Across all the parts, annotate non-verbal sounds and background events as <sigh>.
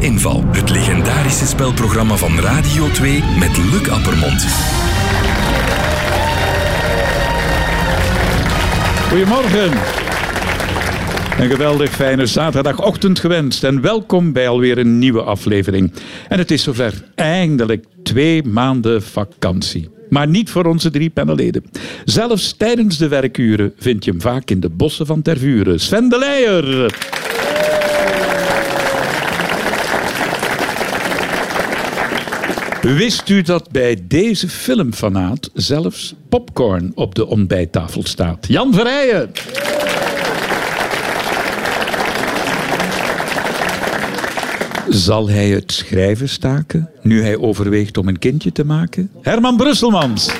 Carnaval. Het legendarische spelprogramma van Radio 2 met Luc Appermond. Goedemorgen. Een geweldig fijne zaterdagochtend gewenst en welkom bij alweer een nieuwe aflevering. En het is zover, eindelijk twee maanden vakantie. Maar niet voor onze drie panelleden. Zelfs tijdens de werkuren vind je hem vaak in de bossen van Tervuren. Sven de Leijer. Wist u dat bij deze filmfanaat zelfs popcorn op de ontbijttafel staat? Jan Verheijen. Zal hij het schrijven staken nu hij overweegt om een kindje te maken? Herman Brusselmans.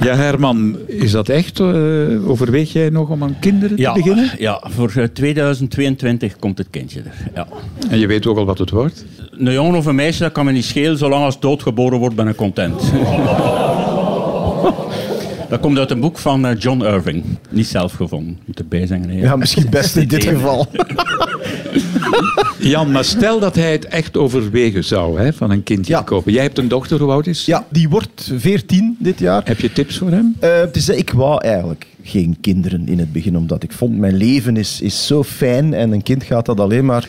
Ja, Herman, is dat echt? Eh, overweeg jij nog om aan kinderen Ja, te beginnen? ja, voor eh, 2022 komt het kindje er. Ja. En je weet ook al wat het wordt. Een jongen of een meisje, dat kan me niet schelen. Zolang als doodgeboren wordt, ben ik content. <laughs> dat komt uit een boek van eh, John Irving. Niet zelf gevonden. Moet erbij zeggen. hè. Ja, misschien best in dit geval. Jan, maar stel dat hij het echt overwegen zou hè, van een kindje Ja. te kopen. Jij hebt een dochter, hoe oud is? ze? Ja, die wordt 14 dit jaar. Heb je tips voor hem? Eh, het is, ik wou eigenlijk geen kinderen in het begin, omdat ik vond mijn leven is, is zo fijn en een kind gaat dat alleen maar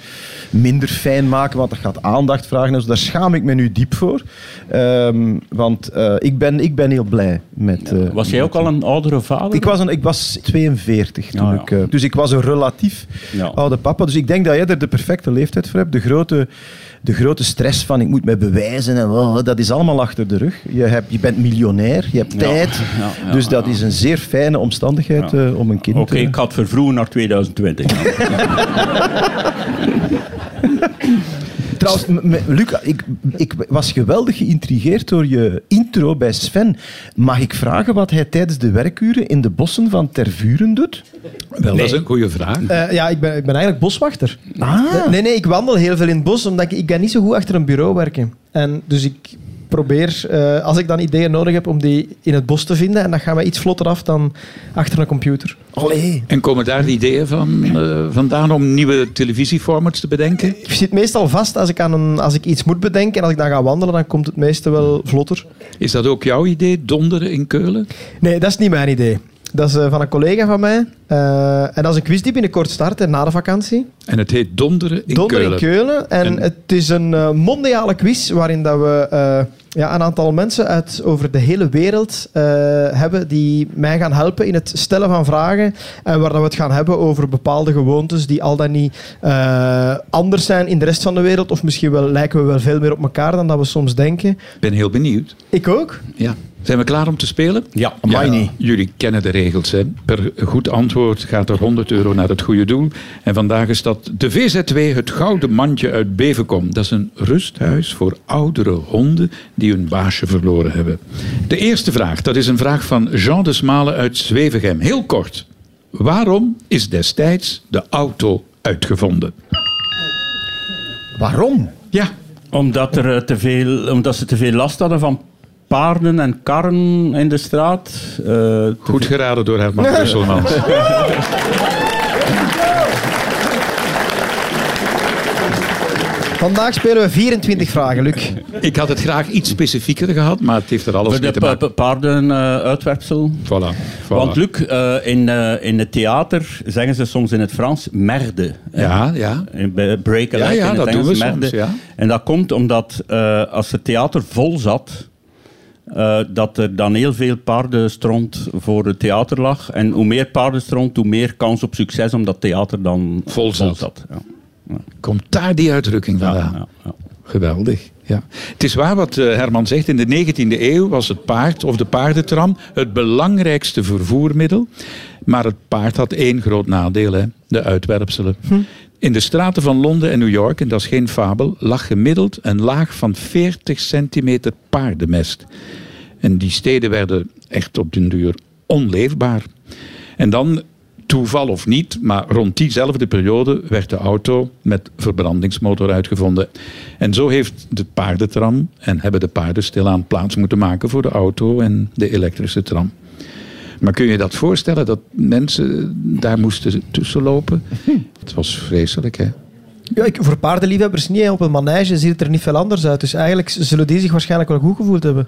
minder fijn maken, want dat gaat aandacht vragen. Dus daar schaam ik me nu diep voor. Ehm, want eh, ik, ben, ik ben heel blij met... eh, Was jij ook al een oudere vader? ik was, een, ik was 42 toen Ah, ja. ik... eh, dus ik was een relatief Ja. oude papa. Dus ik denk dat jij er de perfecte leeftijd voor hebt. De grote, de grote stress van ik moet mij bewijzen en wel, dat is allemaal achter de rug. Je, hebt, je bent miljonair, je hebt Ja. tijd. Ja, ja, dus dat ja. is een zeer fijne omstandigheid Ja. eh, om een kind Oké, te... ik had vervroegen naar 2020. Ja. Trouwens, m- m- Luc, ik, ik was geweldig geïntrigeerd door je intro bij Sven. Mag ik vragen wat hij tijdens de werkuren in de bossen van Tervuren doet? Wel, dat is een goede vraag. Eh, ja, ik ben, ik ben eigenlijk boswachter. Eh, Ah. Nee, nee, ik wandel heel veel in het bos, omdat ik, ik kan niet zo goed achter een bureau werken. En dus ik probeer, eh, als ik dan ideeën nodig heb, om die in het bos te vinden. En dat gaat mij iets vlotter af dan achter een computer. Allee. En komen daar de ideeën van, eh, vandaan om nieuwe televisieformats te bedenken? Ik zit meestal vast als ik, aan een, als ik iets moet bedenken. En als ik dan ga wandelen, dan komt het meeste wel vlotter. Is dat ook jouw idee, donderen in Keulen? Nee, dat is niet mijn idee. Dat is eh, van een collega van mij. Eh, en dat is een quiz die binnenkort start, hè, na de vakantie. En het heet Donderen in Donder in Keulen. Keulen. En, En- het is een eh, mondiale quiz waarin dat we eh, ja, een aantal mensen uit over de hele wereld eh, hebben die mij gaan helpen in het stellen van vragen. En waar dat we het gaan hebben over bepaalde gewoontes die al dan niet eh, anders zijn in de rest van de wereld. Of misschien wel, lijken we wel veel meer op elkaar dan dat we soms denken. Ik ben heel benieuwd. Ik ook. Ja. Zijn we klaar om te spelen? ja. Amai Ja, niet. Jullie kennen de regels. Hè? Per goed antwoord gaat er 100 euro naar het goede doel. En vandaag is dat de VZW, het Gouden Mandje uit Bevenkom. Dat is een rusthuis voor oudere honden die hun baasje verloren hebben. De eerste vraag, dat is een vraag van Jean de Smalen uit Zwevegem. Heel kort. Waarom is destijds de auto uitgevonden? Waarom? Ja, <laughs> Omdat, er, eh, te veel, omdat ze te veel last hadden van paarden en karren in de straat. Eh, goed geraden door Herman Brusselmans. Vandaag spelen we 24 vragen, Luc. <laughs> Ik had het graag iets specifieker gehad, maar het heeft er alles voor mee de te pa- maken. pa- paarden eh, uitwerpsel. Voilà, voilà. Want Luc, eh, in, eh, in het theater zeggen ze soms in het Frans merde. Ja, ja. In- bij Break a Ja, leg ja, in het dat Engels, doen we soms, merde. ja. En dat komt omdat eh, als het theater vol zat, eh, dat er dan heel veel paardenstront voor het theater lag. En hoe meer paardenstront, hoe meer kans op succes, omdat theater dan Vol zat. Ja. Komt daar die uitdrukking Ja, vandaan? ja, ja. Geweldig. Ja. Het is waar wat eh, Herman zegt. In de 19e eeuw was het paard of de paardentram het belangrijkste vervoermiddel. Maar het paard had één groot nadeel: hè? de uitwerpselen. Hm. In de straten van Londen en New York, en dat is geen fabel, lag gemiddeld een laag van 40 centimeter paardenmest. En die steden werden echt op den duur onleefbaar. En dan, toeval of niet, maar rond diezelfde periode werd de auto met verbrandingsmotor uitgevonden. En zo heeft de paardentram en hebben de paarden stilaan plaats moeten maken voor de auto en de elektrische tram. Maar kun je dat voorstellen, dat mensen daar moesten <laughs> tussenlopen? Het was vreselijk, hè? Ja, ik, voor paardenliefhebbers niet. hè. Op een manege ziet het er niet veel anders uit. Dus eigenlijk z- zullen die zich waarschijnlijk wel goed gevoeld hebben.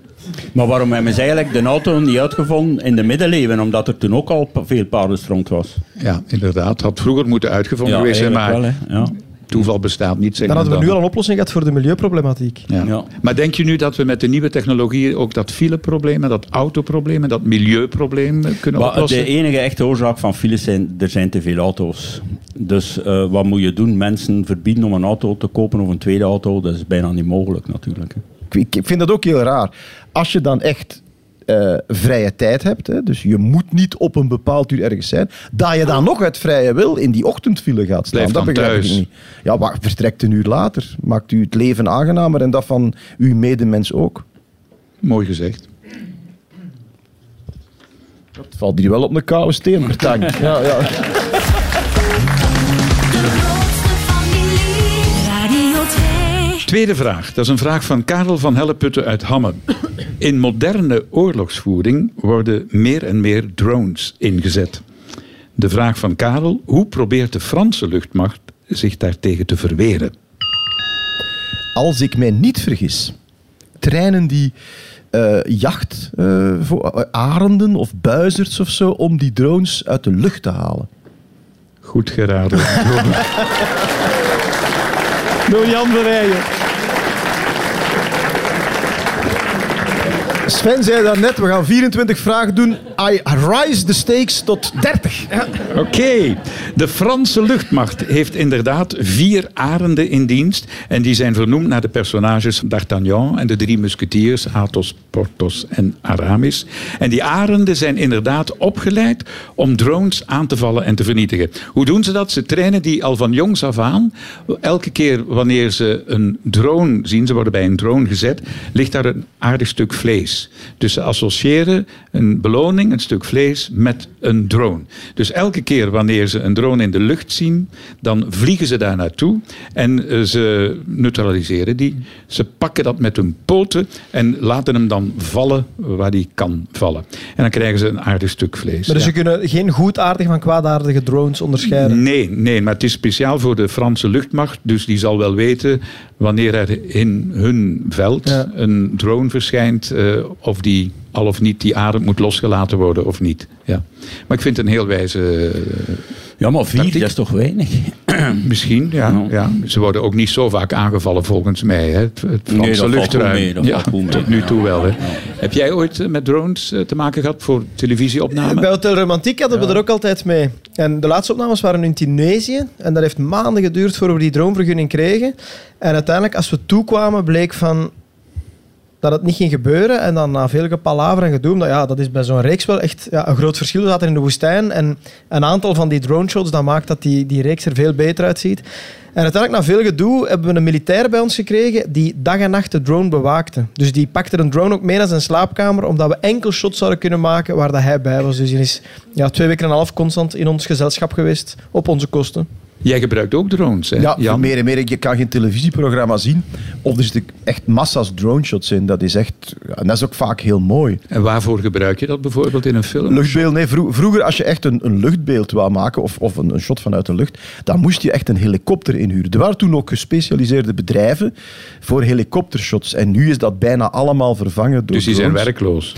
Maar waarom hebben ze eigenlijk de auto niet uitgevonden in de middeleeuwen? Omdat er toen ook al pa- veel paardenstront was. Ja, inderdaad. Had vroeger moeten uitgevonden geweest zijn, maar eigenlijk wel, hè. Ja. toeval bestaat niet. Zeg Dan maar hadden we nu al een oplossing gehad voor de milieuproblematiek. Ja. Ja. Maar denk je nu dat we met de nieuwe technologieën ook dat fileprobleem, en dat autoprobleem en dat milieuprobleem eh, kunnen Maar oplossen? de enige echte oorzaak van files zijn, er zijn te veel auto's. Dus eh, wat moet je doen? Mensen verbieden om een auto te kopen of een tweede auto, dat is bijna niet mogelijk natuurlijk. hè. Ik, ik vind dat ook heel raar. Als je dan echt eh, vrije tijd hebt, hè, dus je moet niet op een bepaald uur ergens zijn, dat je dan nog uit vrije wil in die ochtendfile gaat staan. Blijf dat dan begrijp thuis. ik niet. Ja, maar vertrekt een uur later. Maakt u het leven aangenamer en dat van uw medemens ook. E- Mooi gezegd. Het valt hier wel op een koude steen, Bertang. ja, ja. De grootste familie. Radio 2. Tweede vraag. Dat is een vraag van Karel van Helleputten uit Hammen. In moderne oorlogsvoering worden meer en meer drones ingezet. De vraag van Karel, hoe probeert de Franse luchtmacht zich daartegen te verweren? als ik mij niet vergis, treinen die eh, jacht eh, voor eh, arenden of buizerds of zo om die drones uit de lucht te halen. Goed geraden. Door Jan Verrijen. Sven zei daarnet, we gaan 24 vragen doen. I rise the stakes tot 30. Oké. De Franse luchtmacht heeft inderdaad vier arenden in dienst. En die zijn vernoemd naar de personages D'Artagnan en de drie musketiers Athos, Porthos en Aramis. En die arenden zijn inderdaad opgeleid om drones aan te vallen en te vernietigen. Hoe doen ze dat? Ze trainen die al van jongs af aan. Elke keer wanneer ze een drone zien, ze worden bij een drone gezet, ligt daar een aardig stuk vlees. Dus ze associëren een beloning, een stuk vlees, met een drone. Dus elke keer wanneer ze een drone in de lucht zien, dan vliegen ze daar naartoe en eh, ze neutraliseren die. Ze pakken dat met hun poten en laten hem dan vallen waar die kan vallen. En dan krijgen ze een aardig stuk vlees. Maar dus Ja. ze kunnen geen goedaardig van kwaadaardige drones onderscheiden. Nee, nee, maar het is speciaal voor de Franse luchtmacht. Dus die zal wel weten wanneer er in hun veld Ja. een drone verschijnt. eh, of die al of niet die adem moet losgelaten worden of niet. Ja. Maar ik vind het een heel wijze. eh, Ja, maar vier, Tactiek? dat is toch weinig? misschien, ja, ja. Ze worden ook niet zo vaak aangevallen volgens mij. Hè. Het, het Nee, dat Franse valt luchtruim. goed mee, dat ja, valt goed mee, tot nu ja. toe wel. Hè. Heb jij ooit eh, met drones eh, te maken gehad voor Eh, televisieopnames? Bij Hotel Romantiek hadden we er ook altijd mee. En de laatste opnames waren in Tunesië. En dat heeft maanden geduurd voordat we die droomvergunning kregen. En uiteindelijk, als we toekwamen, bleek van dat het niet ging gebeuren. En dan na veel gepalaver en gedoe, omdat, ja, dat is bij zo'n reeks wel echt ja, een groot verschil. We zaten in de woestijn en een aantal van die drone shots, dat maakt dat die, die reeks er veel beter uitziet. En uiteindelijk, na veel gedoe, hebben we een militair bij ons gekregen die dag en nacht de drone bewaakte. Dus die pakte een drone ook mee naar zijn slaapkamer, omdat we enkel shots zouden kunnen maken waar dat hij bij was. Dus hij is ja, twee weken en een half constant in ons gezelschap geweest, op onze kosten. Jij gebruikt ook drones, hè? Ja, voor Jan? meer en meer. Je kan geen televisieprogramma zien. Of er zitten echt massa's droneshots in. Dat is echt... ja, En dat is ook vaak heel mooi. En waarvoor gebruik je dat bijvoorbeeld in een film? Luchtbeeld, nee. vro- vroeger, als je echt een, een luchtbeeld wou maken, of, of een, een shot vanuit de lucht, dan moest je echt een helikopter inhuren. Er waren toen ook gespecialiseerde bedrijven voor helikoptershots. En nu is dat bijna allemaal vervangen door dus die zijn drones. werkloos.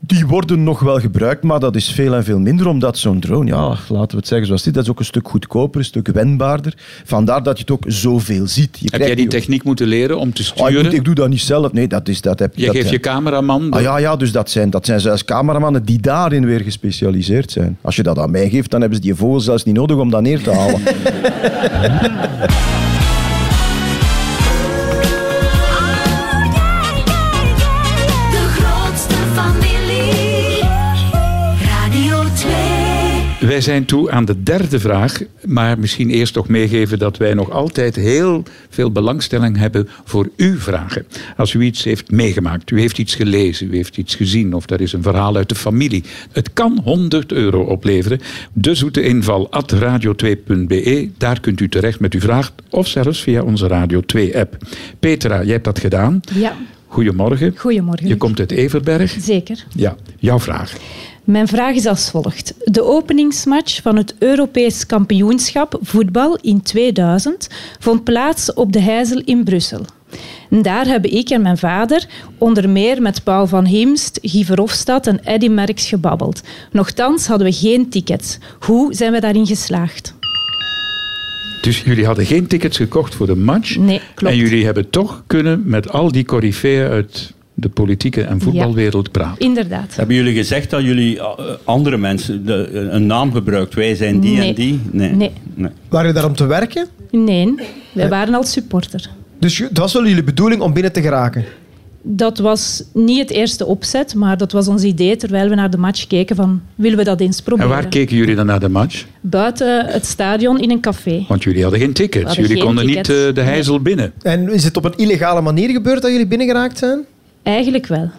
Die worden nog wel gebruikt, maar dat is veel en veel minder, omdat zo'n drone, ja, laten we het zeggen zoals dit, dat is ook een stuk goedkoper, een stuk wendbaarder. Vandaar dat je het ook zoveel ziet. Je Heb krijgt jij die ook- techniek moeten leren om te Ah, ik, sturen? moet- ik doe dat niet zelf. Nee, dat is... Dat heb, Je dat, geeft je eh, cameraman. de- Ah ja, ja, dus dat zijn, dat zijn zelfs cameramannen die daarin weer gespecialiseerd zijn. Als je dat aan mij geeft, dan hebben ze die vogels zelfs niet nodig om dat neer te <laughs> halen. Oh, De grootste familie. Radio 2. Wij zijn toe aan de derde vraag. Maar misschien eerst toch meegeven dat wij nog altijd heel veel belangstelling hebben voor uw vragen. Als u iets heeft meegemaakt, u heeft iets gelezen, u heeft iets gezien of er is een verhaal uit de familie. Het kan 100 euro opleveren. De zoete inval at radio2.be. Daar kunt u terecht met uw vraag of zelfs via onze Radio 2 app. Petra, jij hebt dat gedaan. Ja, Goedemorgen. goedemorgen. Je komt uit Everberg. Zeker. Ja, jouw vraag. Mijn vraag is als volgt. De openingsmatch van het Europees kampioenschap voetbal in 2000 vond plaats op de Heizel in Brussel. En daar hebben ik en mijn vader onder meer met Paul van Himst, Guy Verhofstadt en Eddy Merckx gebabbeld. Nochtans hadden we geen tickets. Hoe zijn we daarin geslaagd? Dus jullie hadden geen tickets gekocht voor de match. Nee, klopt. En jullie hebben toch kunnen met al die coryfeeën uit de politieke en voetbalwereld praten. Inderdaad. Hebben jullie gezegd dat jullie eh, andere mensen de- eh, een naam gebruikt? Wij zijn die Nee. en die? Nee. nee. Waren jullie daar om te werken? Nee, wij waren al supporter. Dus je- het was wel jullie bedoeling om binnen te geraken. Dat was niet het eerste opzet, maar dat was ons idee terwijl we naar de match keken van willen we dat eens En proberen? waar keken jullie dan naar de match? Buiten het stadion in een café. Want jullie hadden geen tickets. hadden jullie geen konden niet tickets. eh, de heizel binnen. En is het op een illegale manier gebeurd dat jullie binnengeraakt zijn? Eigenlijk wel.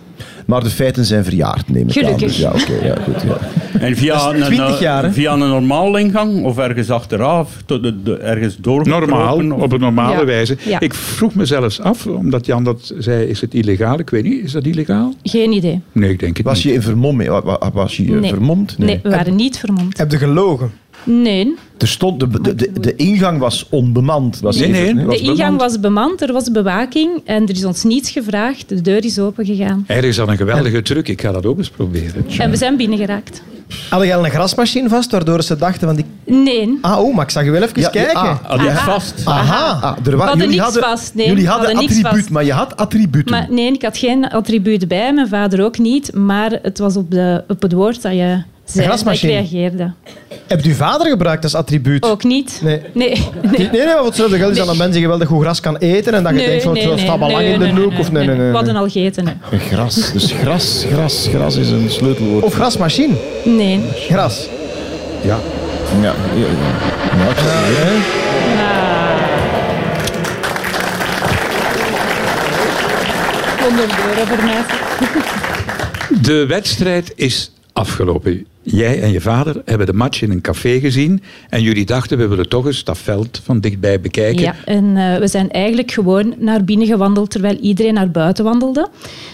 Maar de feiten zijn verjaard, neem ik aan. Gelukkig. Dus ja, oké, ja, goed. Ja. En via, Dat is 20 jaar, hè? een, eh, via een normale ingang of ergens achteraf, tot de, de- ergens door. Normaal, op een normale Ja. wijze. Ja. Ik vroeg me zelfs af, omdat Jan dat zei, is het illegaal? Ik weet niet, is dat illegaal? Geen idee. Nee, ik denk het Was niet. je in vermom mee? Wa- wa- Was je eh, Nee. vermomd? Nee, we waren niet vermomd. Heb je gelogen? Nee, Er stond, de, de, de, de ingang was onbemand. Was Nee, even- nee. was de ingang bemand. was bemand, er was bewaking en er is ons niets gevraagd. De deur is open gegaan. Er is al een geweldige truc, ik ga dat ook eens proberen. En we zijn binnengeraakt. Hadden jij al een grasmachine vast, waardoor ze dachten van die... Nee, Ah, oh, maar ik zag je wel even Ja, ja, kijken. ah. Ah, die is vast. Aha. Ah, er wa- hadden jullie niks hadden, vast, nee, jullie we hadden, hadden niks attribuut, vast. maar je had attributen. maar nee, ik had geen attribuut bij, mijn vader ook niet. Maar het was op, de, op het woord dat je zei, dat ik grasmachine. reageerde. Heb je vader gebruikt als attribuut? Ook niet. Nee. Nee, <laughs> nee. Nee, nee, want hetzelfde geld is dat een mens die geweldig goed gras kan eten en dat je denkt van, het staat maar lang in de nee, noek. nee, of nee, nee, nee. We hadden nee. al gegeten. hè. Gras, dus gras, gras, gras is een sleutelwoord. Of grasmachine. Nee. Gras. Ja. Ja, ja, ja. Ja, ik zeg het, hè. Onderbeuren voor mij. De wedstrijd is afgelopen. Jij en je vader hebben de match in een café gezien. En jullie dachten, we willen toch eens dat veld van dichtbij bekijken. Ja, en eh, we zijn eigenlijk gewoon naar binnen gewandeld terwijl iedereen naar buiten wandelde.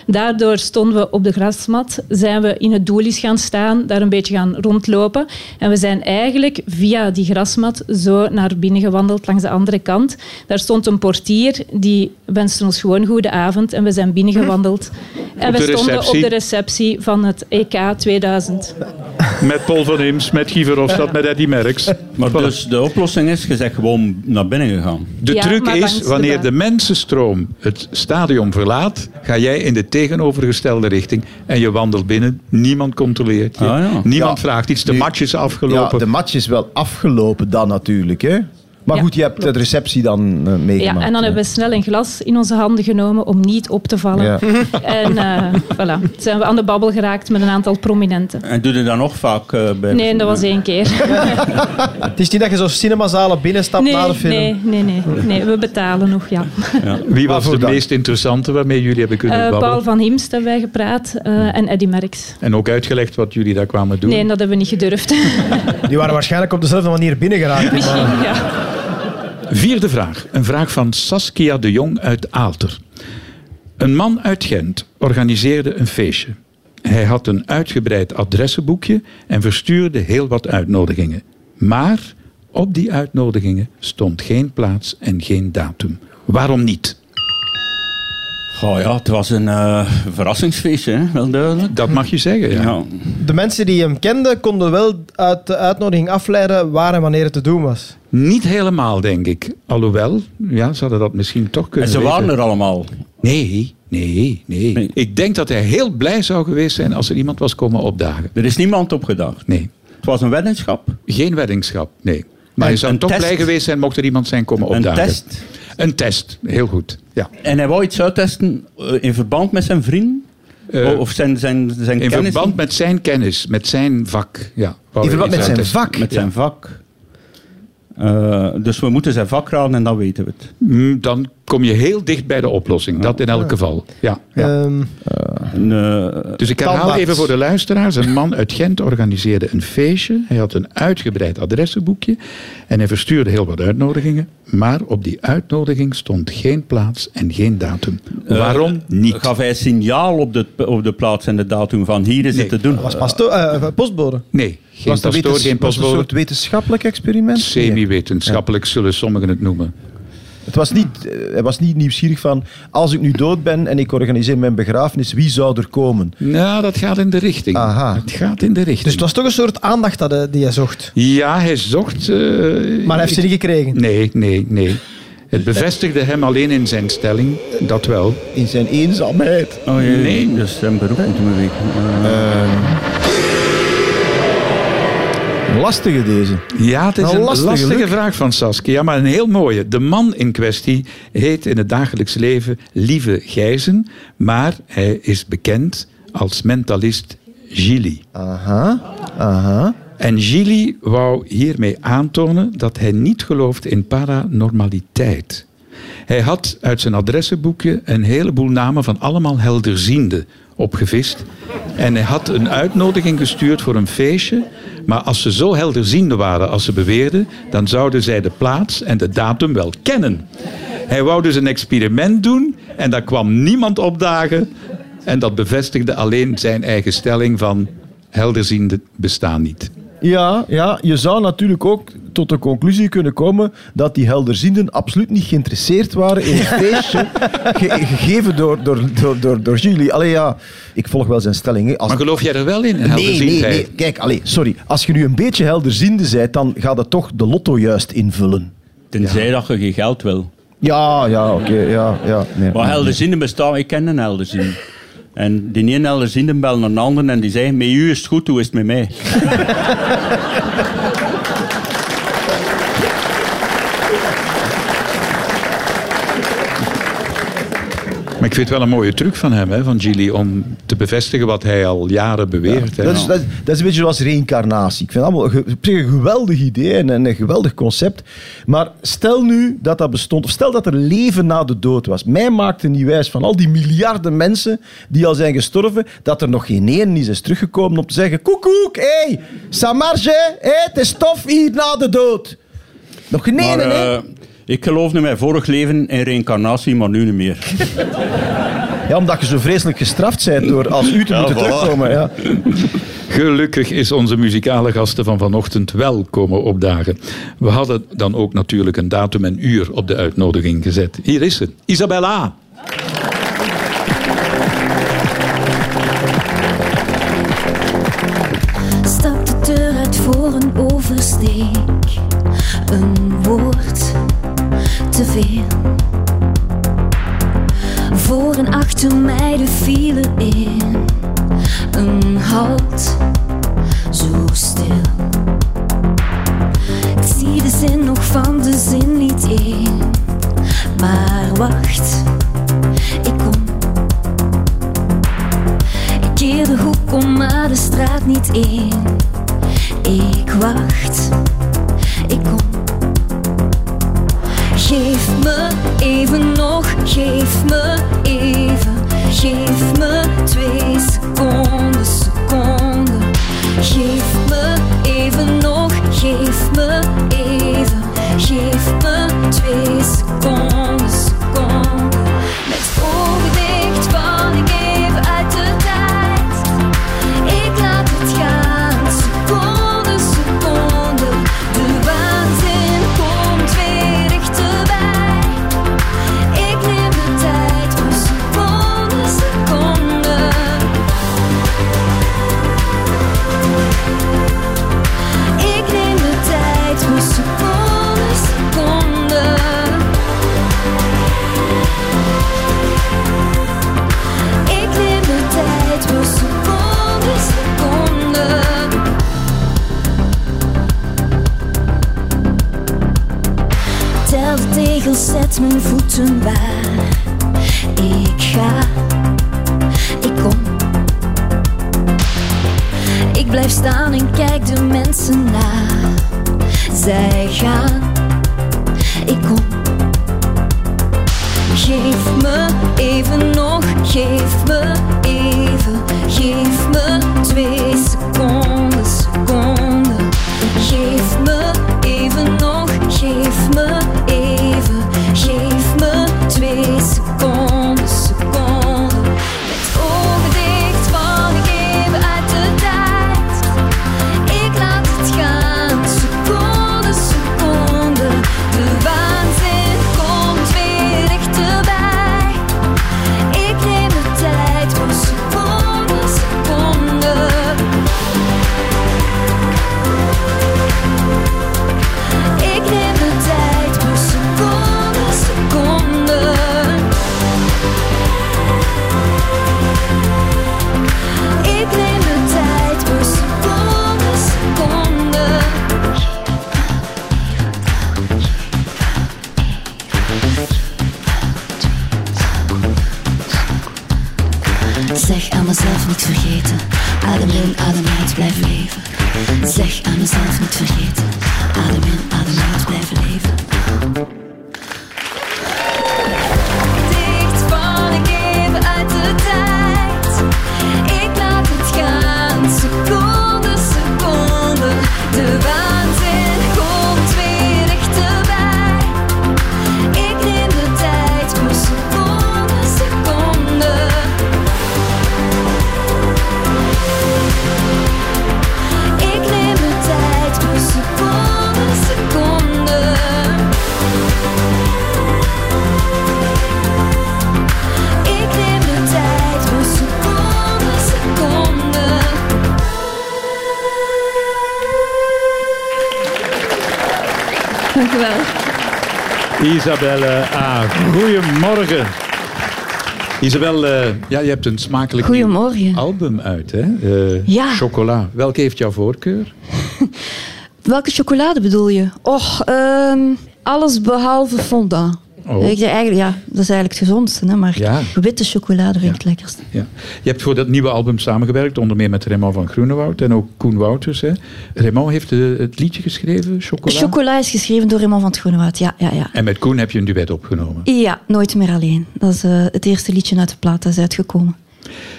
Daardoor stonden we op de grasmat, zijn we in het doelies gaan staan, daar een beetje gaan rondlopen. En we zijn eigenlijk via die grasmat zo naar binnen gewandeld langs de andere kant. Daar stond een portier, die wenste ons gewoon goede avond en we zijn binnengewandeld. En Mhm. Op we de stonden op receptie. de receptie van het E EK 2000. Met Paul van Imst, met Guy Verhofstadt, met Eddy Merckx. Maar Voilà. dus de oplossing is, je zegt gewoon naar binnen gegaan. De Ja, truc maar langs is, de wanneer baan. de mensenstroom het stadion verlaat, ga jij in de tegenovergestelde richting en je wandelt binnen. Niemand controleert je. Ah, ja. Niemand Ja, vraagt iets. De nu- match is Ja, afgelopen. de match is wel afgelopen dan natuurlijk, hè. Maar Ja, goed, je hebt de receptie dan eh, meegemaakt. Ja, en dan hè. hebben we snel een glas in onze handen genomen om niet op te vallen. Ja. En eh, voilà, zijn we aan de babbel geraakt met een aantal prominenten. En doe je dat nog vaak eh, bij... Nee, dat was één keer. Het is niet dat je zo cinemazalen binnenstapt na Nee, de film. nee, nee, nee, nee. We betalen nog, ja. Wie was de Waarvoor dank. meest interessante waarmee jullie hebben kunnen Eh, babbelen? Paul van Himst hebben wij gepraat eh, en Eddy Merckx. En ook uitgelegd wat jullie daar kwamen doen. Nee, dat hebben we niet gedurfd. <laughs> Die waren waarschijnlijk op dezelfde manier binnengeraakt. Misschien, ja. Vierde vraag. Een vraag van Saskia de Jong uit Aalter. Een man uit Gent organiseerde een feestje. Hij had een uitgebreid adressenboekje en verstuurde heel wat uitnodigingen. Maar op die uitnodigingen stond geen plaats en geen datum. Waarom niet? Oh ja, het was een eh, verrassingsfeestje, hè? wel duidelijk. Dat mag je zeggen, ja. Ja. De mensen die hem kenden konden wel uit de uitnodiging afleiden waar en wanneer het te doen was. Niet helemaal, denk ik. Alhoewel, ja, ze hadden dat misschien toch En kunnen ze weten. waren er allemaal. Nee, nee, nee, Nee. Ik denk dat hij heel blij zou geweest zijn als er iemand was komen opdagen. Er is niemand op gedacht. Nee, Het was een weddenschap. geen weddingschap, nee. Maar Een- je zou een toch test. blij geweest zijn mocht er iemand zijn komen opdagen. Een test. Een test, heel goed. Ja. En hij wou iets uittesten eh, in verband met zijn vrienden? Eh, O- of zijn, zijn, zijn In kennis? verband met zijn kennis, met zijn vak. Ja, In verband met zijn vak? vak. Met zijn vak. Eh, dus we moeten zijn vak raden en dan weten we het. Mm, Dan kom je heel dicht bij de oplossing, dat in elk geval. Ja, ja. Ehm, een, eh, Dus ik herhaal Eh, Tandarts. even voor de luisteraars. Een man uit Gent organiseerde een feestje. Hij had een uitgebreid adressenboekje. En hij verstuurde heel wat uitnodigingen. Maar op die uitnodiging stond geen plaats en geen datum. Eh, Waarom niet? gaf hij signaal op de, op de plaats en de datum van hier is Nee, het te doen. was pasto- eh, postbode. Nee, geen Was dat pastoor, geen was het een pasboer. soort wetenschappelijk experiment? Nee. Semi-wetenschappelijk zullen sommigen het noemen. Het was niet, eh, hij was niet nieuwsgierig van, als ik nu dood ben en ik organiseer mijn begrafenis, wie zou er komen? Nou, dat gaat in de richting. Aha. Het gaat in de richting. Dus het was toch een soort aandacht dat hij, die hij zocht. Ja, hij zocht... eh, Maar hij heeft ze niet gekregen. Nee, nee, nee. Het bevestigde hem alleen in zijn stelling. Dat wel. In zijn eenzaamheid. Oh, jee, Nee. Dus zijn beroep moeten we weten. Eh, Lastige deze. Ja, het is Nou, Wel een lastig, lastige, Luc. vraag van Saskia, maar een heel mooie. De man in kwestie heet in het dagelijks leven Lieve Gijzen, maar hij is bekend als mentalist Gili. Aha, aha. En Gili wou hiermee aantonen dat hij niet gelooft in paranormaliteit. Hij had uit zijn adressenboekje een heleboel namen van allemaal helderzienden opgevist. En hij had een uitnodiging gestuurd voor een feestje. Maar als ze zo helderziende waren als ze beweerden, dan zouden zij de plaats en de datum wel kennen. Hij wou dus een experiment doen en daar kwam niemand opdagen. En dat bevestigde alleen zijn eigen stelling van helderzienden bestaan niet. Ja, ja, je zou natuurlijk ook tot de conclusie kunnen komen dat die helderzienden absoluut niet geïnteresseerd waren <laughs> in het feestje ge- gegeven door, door, door, door, door Julie. Allee ja, ik volg wel zijn stelling. hè. Als Maar geloof jij er wel in? Nee, nee, nee. Kijk, allee, sorry. Als je nu een beetje helderziende bent, dan gaat het toch de lotto juist invullen. tenzij dat je geen geld wil. Ja, ja, oké. ja, ja, nee. Maar helderzienden bestaan, ik ken een helderziende. En die ene helderziende belt naar een ander en die zegt, met u is het goed, hoe is het met mij? Maar ik vind het wel een mooie truc van hem, hè, van Gilly, om te bevestigen wat hij al jaren beweert. hè. Dat is, dat, is, dat is een beetje zoals reïncarnatie. Ik vind het allemaal ge- op zich een geweldig idee en een geweldig concept. Maar stel nu dat dat bestond, of stel dat er leven na de dood was. Mij maakte niet wijs van al die miljarden mensen die al zijn gestorven, dat er nog geen één is, is teruggekomen om te zeggen: Koekoek, hé, hey, Samarge, hé, het is tof hier na de dood. Nog geen Maar ene, hè? eh, ik geloofde in mijn vorig leven in reïncarnatie, maar nu niet meer. Ja, omdat je zo vreselijk gestraft bent door als u te moeten voilà. terugkomen. Ja. Gelukkig is onze muzikale gasten van vanochtend wel komen opdagen. We hadden dan ook natuurlijk een datum en uur op de uitnodiging gezet. Hier is ze, Isabella. Stap de deur uit voor een oversteek. Een woord te veel. Voor en achter mij de file in. Een halt zo stil. Ik zie de zin nog van de zin niet in. Maar wacht, ik kom. Ik keer de hoek om, maar de straat niet in. Ik wacht, ik kom. Geef me even nog, geef me even. Geef me twee seconden, seconden. Geef me even nog, geef me even. Geef me twee seconden, seconden. Met ogen dicht val ik even uit de tijd. Ik laat het gaan, seconde, seconde. De waanzin komt weer dichterbij. Ik neem de tijd voor seconde, seconde. Ik neem de tijd voor seconde, seconde. Ik neem de tijd voor seconden, seconden. Tel de tegels, zet mijn voeten waar. Ik ga, ik kom. Ik blijf staan en kijk de mensen na. Zij gaan, ik kom. Geef me even nog, geef me even. Zeg aan mezelf niet vergeten, adem in, adem uit, blijf leven. Zeg aan mezelf niet vergeten, adem in, adem uit, blijf leven. Dicht van ik even uit de tijd. Ik laat het gaan, seconde, seconde. De waanzin komt weer dichterbij. Ik neem de tijd voor seconde, seconde. Ik neem de tijd per seconde, seconde. Ik neem de tijd per seconde, seconde. Dank u wel. <laughs> Isabelle A. Goedemorgen. Isabel, eh, ja, je hebt een smakelijk nieuw Goedemorgen. album uit, hè? Eh, Ja. Chocola. Welke heeft jouw voorkeur? Welke chocolade bedoel je? Och, ehm, alles behalve fondant. Oh. Ik zeg eigenlijk, ja, dat is eigenlijk het gezondste, hè, maar Ja. witte chocolade vind ik het lekkerst. Ja. Je hebt voor dat nieuwe album samengewerkt, onder meer met Raymond van Groenewoud en ook Koen Wouters. Hè? Raymond heeft eh, het liedje geschreven, Chocola. Chocola is geschreven door Raymond van het Groenewoud, ja, ja, ja. en met Koen heb je een duet opgenomen. Ja, Nooit meer alleen. Dat is eh, het eerste liedje uit de plaat dat is uitgekomen.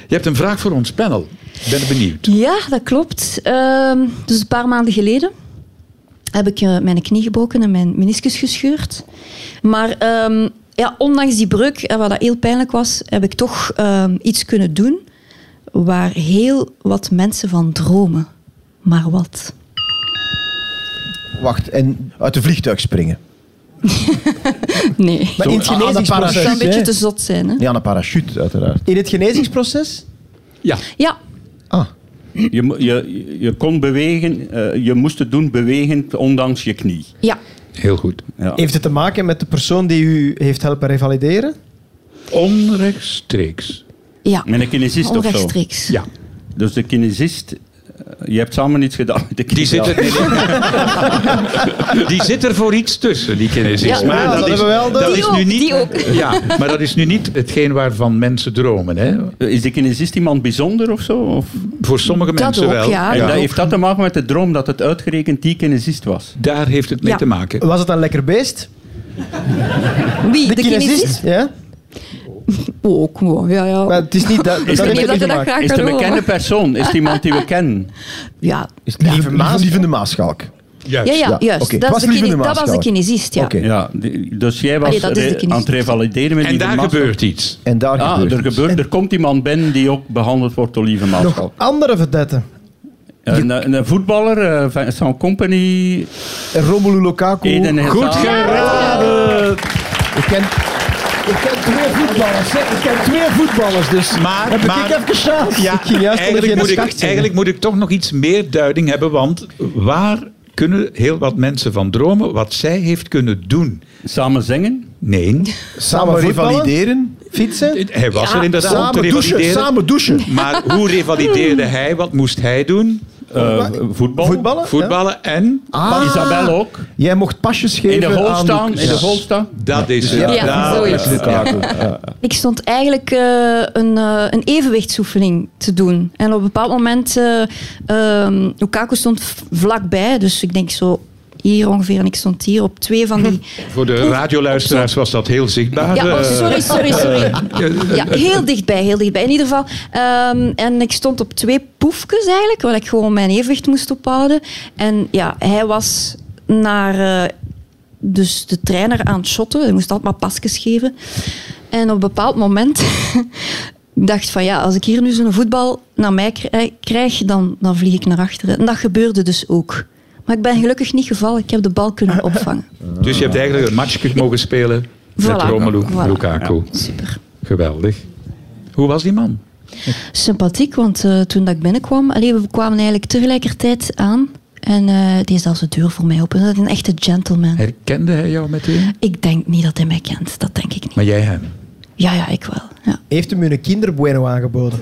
Je hebt een vraag voor ons panel. Ik ben benieuwd. Ja, dat klopt. Ehm, dus een paar maanden geleden heb ik eh, mijn knie gebroken en mijn meniscus gescheurd. Maar ehm, ja, ondanks die breuk, en wat dat heel pijnlijk was, heb ik toch ehm, iets kunnen doen waar heel wat mensen van dromen. Maar wat? Wacht, en uit een vliegtuig springen. Nee. Maar in het aan de Dat zou een genezingsproces... beetje hè? te zot zijn, hè? Ja, aan een parachute, uiteraard. In het genezingsproces? Ja, Ja, Ah, Je, mo- je, je kon bewegen, eh, je moest het doen bewegend, ondanks je knie. ja. heel goed. Ja. Heeft het te maken met de persoon die u heeft helpen revalideren? Onrechtstreeks. ja. Met een kinesist of zo. Onrechtstreeks. Ja. Dus de kinesist, eh, je hebt samen iets gedaan met Die de kinesist. zit, er, <laughs> die zit er voor iets tussen, die kinesist. Ja. Ja, dat hebben we wel door. dat Die is ook, nu niet, die ook. Ja, maar dat is nu niet hetgeen waarvan mensen dromen. Hè? Is de kinesist iemand bijzonder of zo? Of? Voor sommige Dat mensen ook, wel. ja. en dat dat ook. heeft dat te maken met de droom dat het uitgerekend die kinesist was? Daar heeft het mee Ja. te maken. Was het een lekker beest? Wie? De, kinesist? Ja? Ook, wow, ja, ja. Maar het is <laughs> niet dat... ik heeft weet niet het dat niet je dat te maken. graag Is het kan een bekende horen. persoon? Is het iemand die we kennen? Ja, is het lieve, lieve, lieve de Maasschalk? Juist. Ja, ja, Ja, juist. oké. Dat, Was is de Lieve kine- de dat was de Maasschalk. kinesist, ja. Oké. Ja, die- dus jij was Allee, dat is de re- kinesist. aan het revalideren met En die daar masker. gebeurt iets. En daar Ah, gebeurt er, iets. gebeurt, er komt iemand binnen die ook behandeld wordt door lieve Nog maatschap. andere verdetten. Een, een, een voetballer, eh, Vincent Company, En Romelu Lukaku. Eden Hazard. Goed geraden! Ik ken, ik ken twee voetballers. hè. Ik ken twee voetballers, dus Maar- heb maar- ik even chance. Ja, ging juist eigenlijk, tegen moet de ik, schacht zeggen. eigenlijk moet ik toch nog iets meer duiding hebben, want waar kunnen heel wat mensen van dromen wat zij heeft kunnen doen? Samen zingen. Nee, Samen voetballen? revalideren. Fietsen? hij was er inderdaad om te Samen douchen. revalideren. Samen douchen. Maar hoe revalideerde <laughs> hij? Wat moest hij doen? eh, voetbal. Voetballen? ja. Voetballen en... Ah, Isabel ook. Jij mocht pasjes geven In de aan holstaan. In Lucas. de holstaan. Dat is het. Ja, Daar zoiets. is het. Lukaku. Ja. Ik stond eigenlijk eh, een, eh een evenwichtsoefening te doen. En op een bepaald moment, eh ehm, Lukaku stond v- vlakbij, dus ik denk zo hier ongeveer. En ik stond hier op twee van <laughs> die... Voor de radioluisteraars was dat heel zichtbaar. Eh, Ja, oh, sorry, sorry, sorry. <laughs> Ja, heel dichtbij, heel dichtbij. In ieder geval. ehm, en ik stond op twee poefjes eigenlijk, waar ik gewoon mijn evenwicht moest ophouden. En ja, hij was naar eh, dus de trainer aan het shotten. Hij moest altijd maar pasjes geven. En op een bepaald moment <laughs> dacht van ja, als ik hier nu zo'n voetbal naar mij krij- krijg, dan, dan vlieg ik naar achteren. En dat gebeurde dus ook. Maar ik ben gelukkig niet gevallen. Ik heb de bal kunnen opvangen. Dus je hebt eigenlijk een matchje mogen spelen met Voilà. Romelu Voilà. Lukaku. Super. Geweldig. Hoe was die man? sympathiek, want eh, toen dat ik binnenkwam, allee, we kwamen eigenlijk tegelijkertijd aan. En eh, die is zelfs de deur voor mij open. Dat is een echte gentleman. Herkende hij jou meteen? Ik denk niet dat hij mij kent. Dat denk ik niet. Maar jij hem. Ja, ja, ik wel. Ja. Heeft hem u een kinderbueno aangeboden?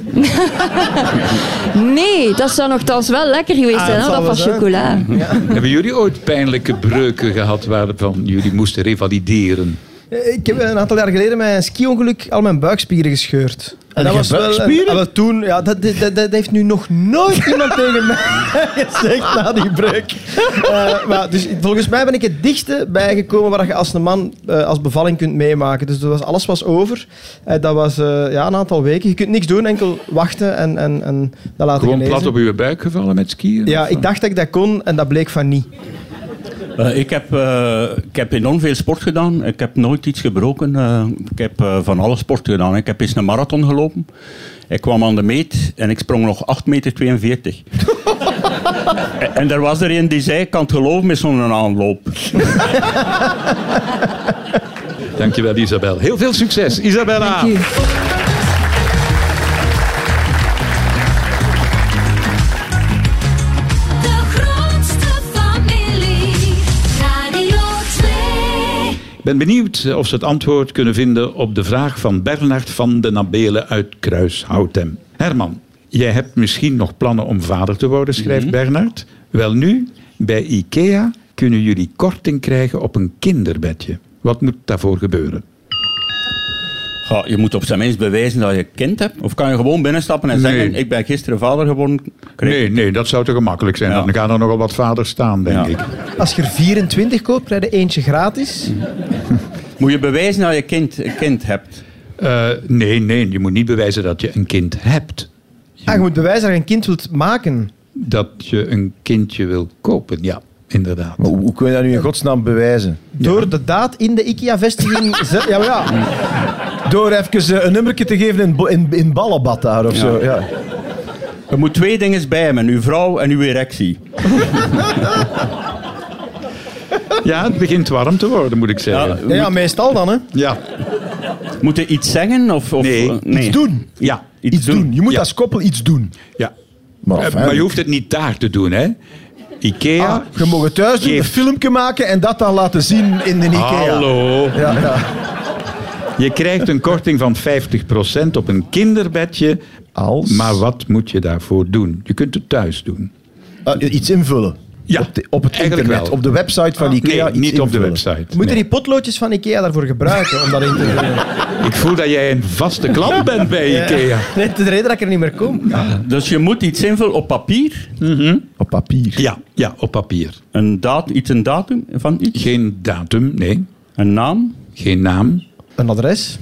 Nee, dat zou nogthans wel lekker geweest Ah, zijn, dat hoor, dat zal van wel chocola. Hebben jullie ooit pijnlijke breuken gehad waarvan jullie moesten revalideren? Eh, Ik heb een aantal jaar geleden met een ski-ongeluk al mijn buikspieren gescheurd. En je buikspieren? en wel toen, ja, dat, dat, dat, dat heeft nu nog nooit iemand tegen mij <laughs> gezegd na die breuk. Eh, maar dus, volgens mij ben ik het dichtste bijgekomen waar je als een man eh, als bevalling kunt meemaken. Dus dat was, alles was over. Eh, dat was eh, ja, een aantal weken. Je kunt niks doen, enkel wachten en, en, en dat laten Gewoon genezen. plat op uw buik gevallen met skiën? Ja, Of, ik eh, dacht dat ik dat kon en dat bleek van niet. Eh, ik, heb, eh, ik heb enorm veel sport gedaan. Ik heb nooit iets gebroken. Eh, ik heb eh, van alle sport gedaan. Ik heb eens een marathon gelopen. Ik kwam aan de meet en ik sprong nog 8,42 meter. en, <laughs> en er was er een die zei, ik kan het geloven met zo'n aanloop. Dankjewel, Isabel. Heel veel succes, Isabella. De grootste familie, Radio 2. Ik ben benieuwd eh, of ze het antwoord kunnen vinden op de vraag van Bernard van de Nabelen uit Kruishoutem. Herman, jij hebt misschien nog plannen om vader te worden, schrijft Mhm. Bernard. Wel nu, bij IKEA kunnen jullie korting krijgen op een kinderbedje. Wat moet daarvoor gebeuren? Ja, je moet op zijn minst bewijzen dat je een kind hebt. Of kan je gewoon binnenstappen en Nee. zeggen, ik ben gisteren vader geworden. Kreeg- Nee, nee, dat zou te gemakkelijk zijn. Ja. Dan gaan er nogal wat vaders staan, denk Ja. ik. Als je er 24 koopt, krijg je eentje gratis. Moet je bewijzen dat je kind, een kind hebt. Eh, nee, nee, je moet niet bewijzen dat je een kind hebt. Ah, je moet bewijzen dat je een kind wilt maken. Dat je een kindje wil kopen, ja, inderdaad. Maar hoe, hoe kun je dat nu in godsnaam bewijzen? Door de daad in de <laughs> IKEA-vestiging... ze- ja, maar ja. Door even eh, een nummertje te geven in, bo- in, in ballenbad daar of zo. Ja. Je moet twee dingen bij hebben. Uw vrouw en uw erectie. Ja, het begint warm te worden, moet ik zeggen. Ja, Ja, ja, meestal dan, hè. Ja, Moet je iets zeggen? Of, of, Nee. eh, Iets doen. ja. Iets Iets doen. Je moet Ja. als koppel iets doen. ja. Maar, Eh, enfin, maar je hoeft het niet daar te doen, hè? Ikea. Ah, je mag het thuis doen, een Geef- filmpje maken en dat dan laten zien in de IKEA. Hallo. Ja, ja. Je krijgt een korting van 50% op een kinderbedje. Als? Maar wat moet je daarvoor doen? Je kunt het thuis doen. Eh, iets invullen. Ja, op, de- op het eigenlijk internet, wel. op de website van IKEA. nee, iets niet op de invullen. website. Moeten Nee. die potloodjes van IKEA daarvoor gebruiken om dat in te vullen? Ik voel dat jij een vaste klant bent bij Ikea. <laughs> Nee, dat is de reden dat ik er niet meer kom. Dus je moet iets invullen op papier. Op papier. Ja, ja, op papier. Een daad, iets een datum van iets. Geen datum, nee. Een naam. Geen naam, Een adres.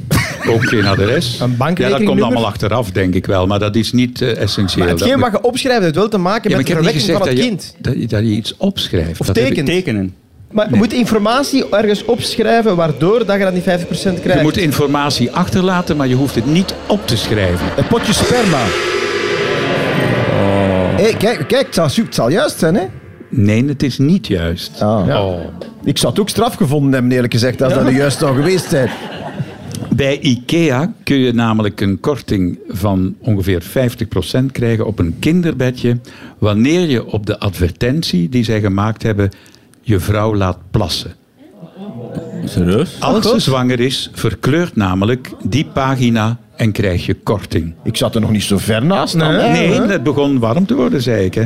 ook geen adres. Een Ja, dat bankrekeningnummer? komt allemaal achteraf, denk ik wel. Maar dat is niet eh, essentieel. Maar Dat hetgeen moet- wat je opschrijft heeft wel te maken Ja, maar met ik de heb niet verwekking gezegd van dat het je, kind. dat, je, dat je iets opschrijft. Of Dat heb ik- tekent. Tekenen. Maar je moet informatie ergens opschrijven waardoor dat je dan die 5% krijgt. Je moet informatie achterlaten, maar je hoeft het niet op te schrijven. Een potje sperma. Hey, kijk, kijk het, zal, su- het zal juist zijn, hè? Nee, het is niet juist. Ah. Oh. Ik zou het ook straf gevonden hebben, eerlijk gezegd, als dat er juist zou geweest zijn. Bij IKEA kun je namelijk een korting van ongeveer 50% krijgen op een kinderbedje wanneer je op de advertentie die zij gemaakt hebben je vrouw laat plassen. Serieus? Als ze zwanger is, verkleurt namelijk die pagina en krijg je korting. Ik zat er nog niet zo ver naast. dan, hè? Nee, het begon warm te worden, zei ik. Hè.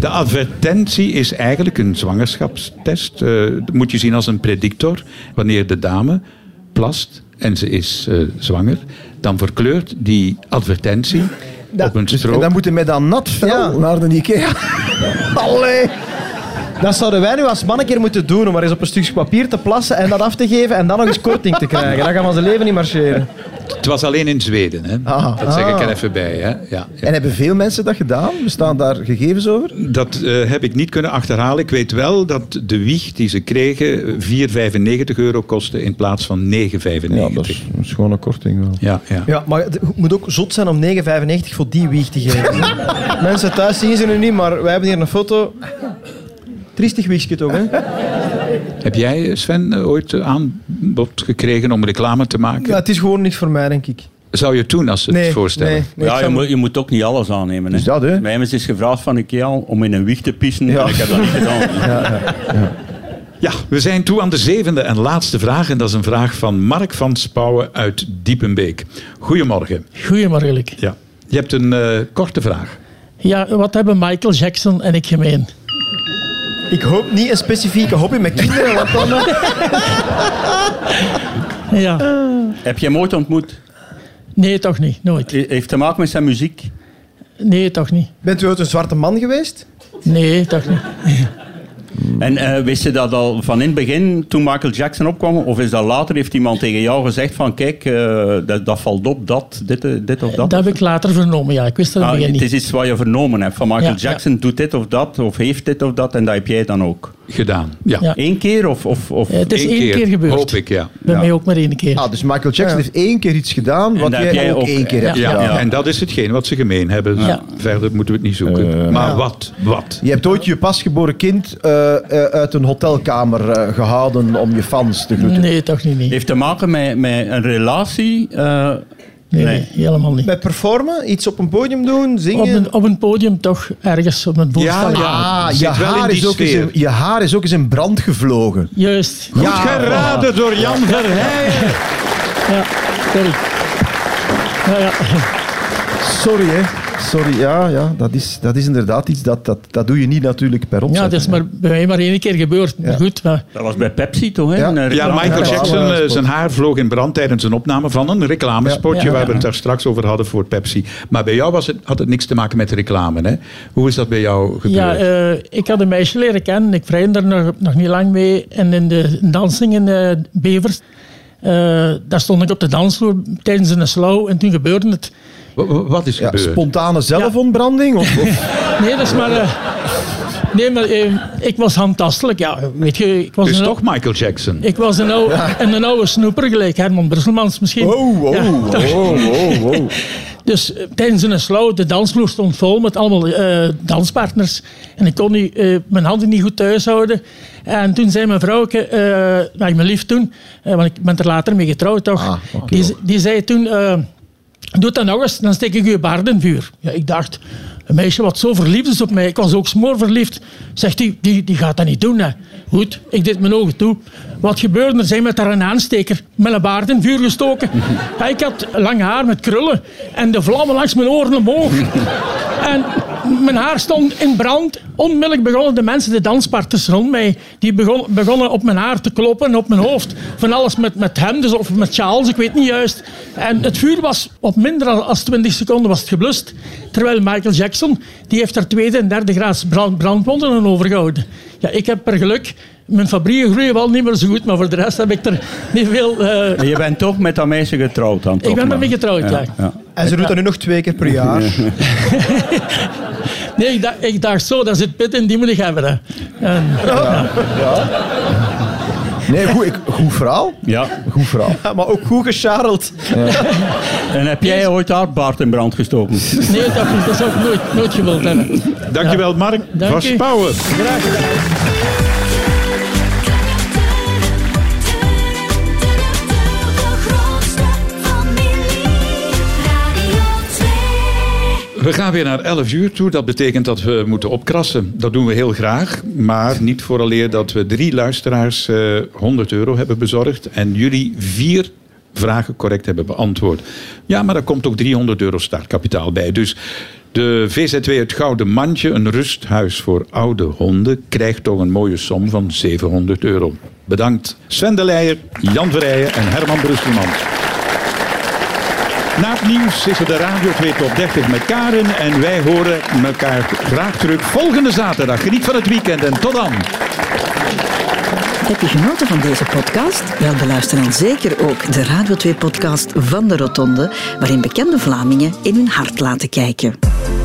De advertentie is eigenlijk een zwangerschapstest. Eh, dat moet je zien als een predictor. Wanneer de dame plast en ze is eh, zwanger, dan verkleurt die advertentie op een dus- En strook. dan moeten we met dat nat vel Ja. naar de IKEA. Allee. Dat zouden wij nu als man een keer moeten doen, om maar eens op een stukje papier te plassen en dat af te geven en dan nog eens korting te krijgen. Dan gaan we zijn leven niet marcheren. Het was alleen in Zweden. Hè. Ah, dat zeg ik ah. er even bij. Hè. Ja, ja. En hebben veel mensen dat gedaan? Bestaan daar gegevens over? Dat eh, heb ik niet kunnen achterhalen. Ik weet wel dat de wieg die ze kregen eh, 4,95 euro kostte in plaats van 9,95. Ja, gewoon een korting wel. ja, ja. Ja, maar het moet ook zot zijn om 9,95 voor die wieg te <laughs> geven. Mensen thuis zien ze nu niet, maar wij hebben hier een foto. Triestig wiegje toch, hè? Heb jij, Sven, eh, ooit eh, aanbod gekregen om reclame te maken? Ja, het is gewoon niks voor mij, denk ik. Zou je het doen als ze Nee, het voorstellen? nee, nee, ik ja, je zou- moet, je moet ook niet alles aannemen. Hè. Is dat, hè? Mij hebben ze eens gevraagd van IKEA om in een wieg te pissen. Ja. En ik heb dat <laughs> niet gedaan. Ja, we zijn toe aan de zevende en laatste vraag. En dat is een vraag van Mark van Spouwen uit Diepenbeek. Goedemorgen. Goedemorgen, Luc. Ja. Je hebt een eh, korte vraag. Ja, wat hebben Michael Jackson en ik gemeen? Ik hoop niet een specifieke hobby met kinderen, want dan... Ja. Heb je hem ooit ontmoet? Nee, toch niet. Nooit. He- Heeft te maken met zijn muziek? Nee, toch niet. Bent u ooit een zwarte man geweest? Nee, toch niet. En eh, wist je dat al van in het begin, toen Michael Jackson opkwam? Of is dat later, heeft iemand tegen jou gezegd van kijk, eh, dat, dat valt op, dat, dit, eh, dit of dat? Dat heb ik later vernomen, ja. Ik wist dat in Ah, het begin het niet. is iets wat je vernomen hebt. Van Michael Ja, ja. Jackson doet dit of dat, of heeft dit of dat. En dat heb jij dan ook. gedaan. Ja, Ja. Eén keer of... of, of Eh, Het is Eén één keer, gebeurd. Hoop ik, ja. Bij Ja. mij ook maar één keer. Ah, dus Michael Jackson heeft één keer iets gedaan, wat dat jij, heb jij ook ook, één keer ja. hebt Ja, gedaan. Ja. en dat is hetgeen wat ze gemeen hebben. Ja. Verder moeten we het niet zoeken. maar wat? Wat? Je hebt ooit je pasgeboren kind eh, eh, uit een hotelkamer eh, gehouden om je fans te groeten. nee, toch niet. Nee. Heeft te maken met, met een relatie? eh, Nee, nee. nee, helemaal niet. Met performen? Iets op een podium doen? Op Zingen? een, op een podium toch, ergens op een voorstelling. Ah, Zit je wel in haar, die is ook eens sfeer. in, je haar is ook eens in brand gevlogen. Juist. Goed geraden door Jan Verheijen. Ja, sorry. Ja, ja. Ah, Sorry, hè. Sorry, ja, ja dat, is, dat is inderdaad iets dat, dat, dat doe je niet natuurlijk per opzet. ja, dat is hè. maar bij mij maar één keer gebeurd. Maar goed, maar dat was bij Pepsi toch? Hè? Ja. Een Ja, reclame- Michael Ja, Jackson, reclamespot. eh, zijn haar vloog in brand tijdens een opname van een reclamespotje Ja, ja, waar we ja. het daar straks over hadden voor Pepsi. Maar bij jou was het, had het niks te maken met reclame. Hè? Hoe is dat bij jou gebeurd? Ja, eh, ik had een meisje leren kennen. Ik vrijdde er nog, nog niet lang mee. En in de dansing in eh, Bevers, eh, daar stond ik op de dansvloer tijdens een slow. En toen gebeurde het. Wa- wa- wat is Ja, gebeurd? spontane zelfontbranding? Of, of- Nee, dat is maar... eh, nee, maar eh, ik was handtastelijk. Ja, weet je, ik was dus een... toch Michael Jackson? Ik was een oude, en een oude snoeper gelijk, Herman Brusselmans misschien. oh, oh, Ja, oh, toch. oh, oh. Dus eh, tijdens een slow, de dansvloer stond vol met allemaal eh, danspartners. En ik kon niet, eh, mijn handen niet goed thuis houden. En toen zei mijn vrouwke, eh nou, mijn lief toen, eh, want ik ben er later mee getrouwd toch. Ah, oké. die, ze- die zei toen, eh, doe dat nog eens, dan steek ik je baard in het vuur. Ja, ik dacht, een meisje wat zo verliefd is op mij, ik was ook smoorverliefd, zegt die, die, die gaat dat niet doen. Hè. Goed, ik deed mijn ogen toe. Wat gebeurde er? Zij met haar een aansteker met een baard in het vuur gestoken. Ja, ik had lang haar met krullen en de vlammen langs mijn oren omhoog. En mijn haar stond in brand. Onmiddellijk begonnen de mensen, de danspartners rond mij, die begon- begonnen op mijn haar te kloppen, op mijn hoofd. Van alles met, met hemden of met sjaals, ik weet niet juist. En het vuur was op minder dan als 20 seconden was het geblust. Terwijl Michael Jackson, die heeft er tweede en derde graads brand, brandwonden aan overgehouden. Ja, ik heb per geluk... Mijn fabrieken groeien wel niet meer zo goed, maar voor de rest heb ik er niet veel... eh, Maar Je bent toch met dat meisje getrouwd dan? toch, ben maar? ermee getrouwd, ja. En ze doet dat nu nog twee keer per jaar. Nee, ik dacht, ik dacht zo, daar zit pit in, die moet ik hebben. Hè. En, Nee, goed, ik, goed verhaal. Ja. Goed verhaal. Ja, maar ook goed gescharreld. En heb jij ooit haar baard in brand gestoken? Ну, nee, dat, niet, dat zou ik nooit, nooit gewild hebben. Dankjewel, Mark. Dank Vast u. Pauwen. De grootste familie, Radio 2. We gaan weer naar 11 uur toe. Dat betekent dat we moeten opkrassen. Dat doen we heel graag. Maar niet vooraleer dat we drie luisteraars eh 100 euro hebben bezorgd. En jullie vier vragen correct hebben beantwoord. Ja, maar daar komt ook 300 euro startkapitaal bij. Dus de VZW Het Gouden Mandje, een rusthuis voor oude honden... krijgt toch een mooie som van 700 euro. Bedankt Sven de Leijer, Jan Verrijen en Herman Brusselmans. Na het nieuws is er de Radio 2 Top 30 met Karen. En wij horen elkaar graag terug volgende zaterdag. Geniet van het weekend en tot dan. Heb je genoten van deze podcast? Wel, beluister dan zeker ook de Radio 2-podcast van de Rotonde, waarin bekende Vlamingen in hun hart laten kijken.